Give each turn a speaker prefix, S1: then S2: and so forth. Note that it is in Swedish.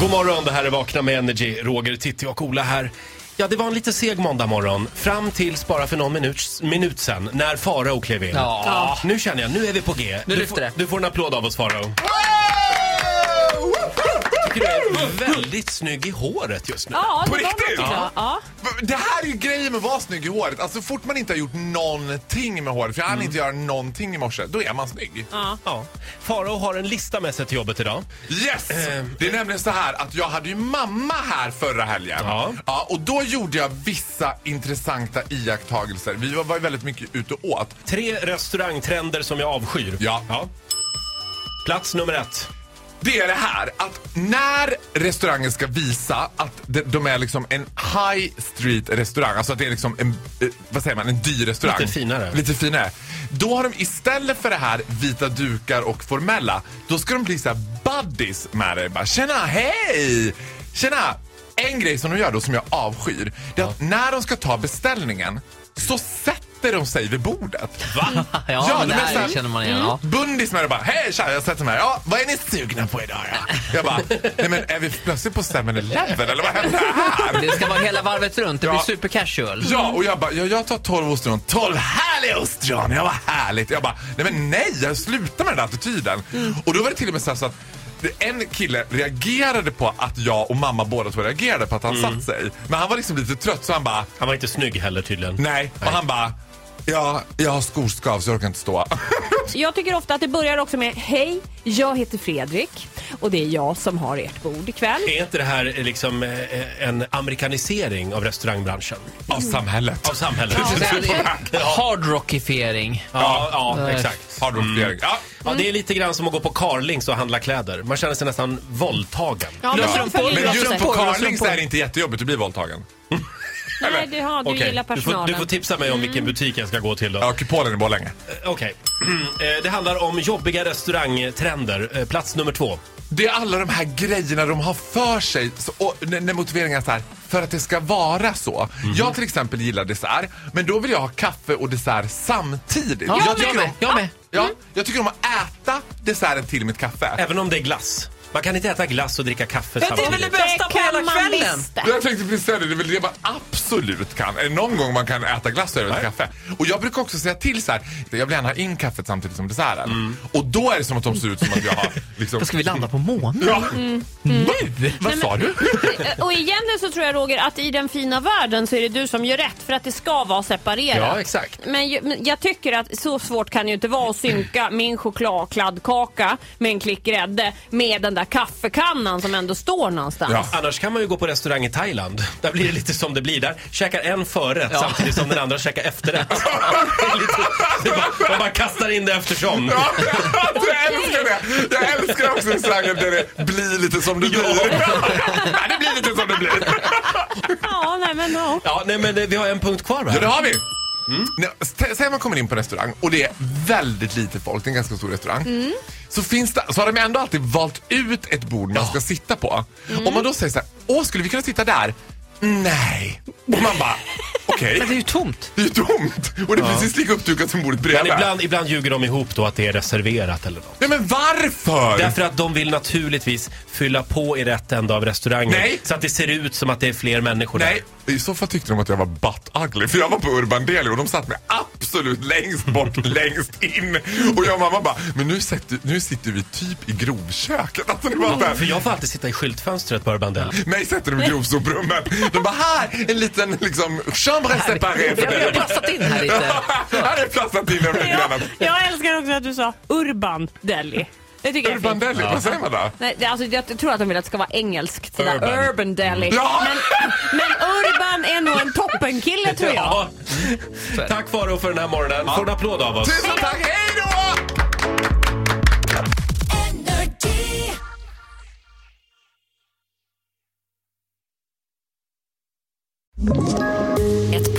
S1: God morgon, det här är Vakna med Energy. Roger, Titti och Ola här. Ja, det var en lite seg måndag morgon. Fram tills bara för någon minut, minut sen, när Farao klev in.
S2: Ja.
S1: Nu känner jag, nu är vi på G.
S2: Nu
S1: du,
S2: lyfter
S1: får,
S2: det.
S1: du får en applåd av oss Farao. Tycker du är väldigt snygg i håret just nu.
S3: Ja, det
S4: På
S3: var
S4: riktigt?
S3: någonting då. Ja.
S4: Det här är ju grejen med att vara snygg i håret. Alltså så fort man inte har gjort någonting med håret, för jag hann inte göra någonting i morse, då är man snygg.
S1: Ja. Farao har en lista med sig till jobbet idag.
S4: Yes! Det är nämligen så här att jag hade ju mamma här förra helgen.
S1: Ja.
S4: och då gjorde jag vissa intressanta iakttagelser. Vi var, var ju väldigt mycket ute och åt.
S1: Tre restaurangtrender som jag avskyr.
S4: Ja.
S1: Plats nummer ett.
S4: Det är det här att när restaurangen ska visa att de, de är liksom en high street restaurang, alltså att det är liksom en, eh, vad säger man, en dyr restaurang.
S1: Lite finare.
S4: Lite finare. Då har de istället för det här vita dukar och formella, då ska de bli så här buddies med dig. Bara, Tjena, hej! Tjena! En grej som de gör då som jag avskyr, det är att när de ska ta beställningen så sätter de sig vid bordet.
S1: Va?
S2: Ja,
S4: Ja,
S2: men det
S4: men
S2: här
S4: sen-
S2: känner man igen. Ja.
S4: Bundis med och bara Hej tja, jag sätter mig här. Ja, vad är ni sugna på idag ja? Jag bara, nej men är vi plötsligt på 7-Eleven eller vad händer här?
S2: Det ska vara hela varvet runt. Det blir
S4: Ja.
S2: super casual.
S4: Ja, och jag bara, ja, jag tar 12 ostron. 12 härliga ostron! Ja, vad härligt. Jag bara, nej men nej, jag slutar med den där attityden. Och då var det till och med så, här så att det- en kille reagerade på att jag och mamma båda två reagerade på att han satt sig. Men han var liksom lite trött så han bara,
S1: Han var inte snygg heller tydligen.
S4: nej. Och han bara, ja, jag har skoskav så jag orkar inte stå.
S3: Jag tycker ofta att det börjar också med Hej, jag heter Fredrik och det är jag som har ert bord ikväll.
S1: Är inte det här eh, liksom eh, en amerikanisering av restaurangbranschen?
S4: Av samhället.
S1: Av samhället?
S2: Det
S4: Precis.
S2: här är Hard rockifiering.
S1: Ja, ja, exakt.
S4: Har du mm. Ja.
S1: Ja, det är lite grann som att gå på Carlings och handla kläder. Man känner sig nästan våldtagen.
S3: Ja, men
S2: Löser
S3: de
S2: de på-
S3: följer
S4: Men
S3: också
S4: just
S3: det.
S4: på
S2: Porr och
S4: Carlings
S2: sånt.
S4: är det inte jättejobbigt att bli våldtagen.
S3: Nej, det har, du
S1: Okej,
S3: gillar
S1: du, får,
S3: personalen. Mm.
S1: du får tipsa mig om vilken butik jag ska gå till då.
S4: Ja, kupolen är bara länge.
S1: Eh, Okej. Eh, Det handlar om jobbiga restaurangtrender. Eh, Plats nummer två.
S4: Det är alla de här grejerna de har för sig så, och, när, när motiveringen är så här, för att det ska vara så. Jag till exempel gillar dessert, men då vill jag ha kaffe och dessert samtidigt.
S2: Ja,
S4: jag,
S2: jag
S4: tycker
S2: med,
S4: om,
S2: jag med.
S4: Ja, jag tycker om att äta desserten till mitt kaffe.
S1: Även om det är glass. Man kan inte äta glass och dricka kaffe
S2: Men det är väl
S1: samtidigt.
S2: det bästa på
S3: kan
S2: hela
S3: man
S2: kvällen.
S3: visst.
S4: Jag tänkte precis säga det, det är väl det man absolut kan. Är det någon gång man kan äta glass över ett kaffe? Och jag brukar också säga till så här, jag vill gärna ha in kaffet samtidigt som desserten. Och då är det som att de ser ut som att jag har liksom...
S2: Då ska vi landa på månen.
S4: Ja. Nu? Vad sa du?
S3: Eh, Och egentligen så tror jag Roger att i den fina världen så är det du som gör rätt för att det ska vara separerat.
S1: Ja, exakt.
S3: Men ju- men jag tycker att så svårt kan det ju inte vara att synka min chokladkladdkaka med en klick grädde med den där kaffekannan som ändå står någonstans.
S4: Ja.
S1: Annars kan man ju gå på restaurang i Thailand. Där blir det lite som det blir där. Käkar en förrätt
S2: Ja.
S1: samtidigt som den andra käkar efterrätt. Det är lite- det är bara- Man bara kastar in det eftersom.
S4: Ja, jag älskar det! Jag älskar också slangen där det blir lite som det blir. Ja, det blir lite som det blir.
S3: Ja, nej men ja.
S1: Ja, nej men eh, vi har en punkt kvar va?
S4: Ja, det har vi. Nej, s- Säg man kommer in på en restaurang och det är väldigt lite folk, det är en ganska stor restaurang. Så, finns det, så har de ändå alltid valt ut ett bord man ska sitta på. Om man då säger så här, åh skulle vi kunna sitta där? Nej. Och man bara, okej.
S2: Men det är ju tomt.
S4: Det är ju tomt! Och det är precis lika uppdukat som bordet
S1: Men
S4: bredvid.
S1: ibland, ibland ljuger de ihop då att det är reserverat eller något.
S4: Nej men varför?
S1: Därför att de vill naturligtvis fylla på i rätt ände av restaurangen.
S4: Nej.
S1: Så att det ser ut som att det är fler människor
S4: Nej, i så fall tyckte de att jag var butt ugly för jag var på Urban Deli och de satt mig absolut längst bort, längst in. Och jag och mamma bara, men nu sitter, nu sitter vi typ i grovköket. Alltså det var så
S1: där.
S4: här,
S1: För jag får alltid sitta i skyltfönstret på Urban Deli.
S4: mig sätter de i grovsoprummet. De bara, här en liten liksom chambre séparée för
S2: Vi har
S4: dig.
S2: passat in här lite.
S4: Här är platsen till en
S3: Jag,
S4: grann.
S3: jag älskar också att du sa Urban Deli. Det tycker jag är
S4: Urban
S3: fint.
S4: Deli, vad säger man då?
S3: Nej, det- alltså, jag tror att de vill att det ska vara engelskt. Sådär.
S1: Urban.
S3: Urban. Deli.
S4: Ja!
S3: Men, men Urban är nog en toppenkille tror jag.
S1: Ja. Tack Faro för den här morgonen. Får en applåd av oss.
S4: Tusen tack, hej då!
S5: Ett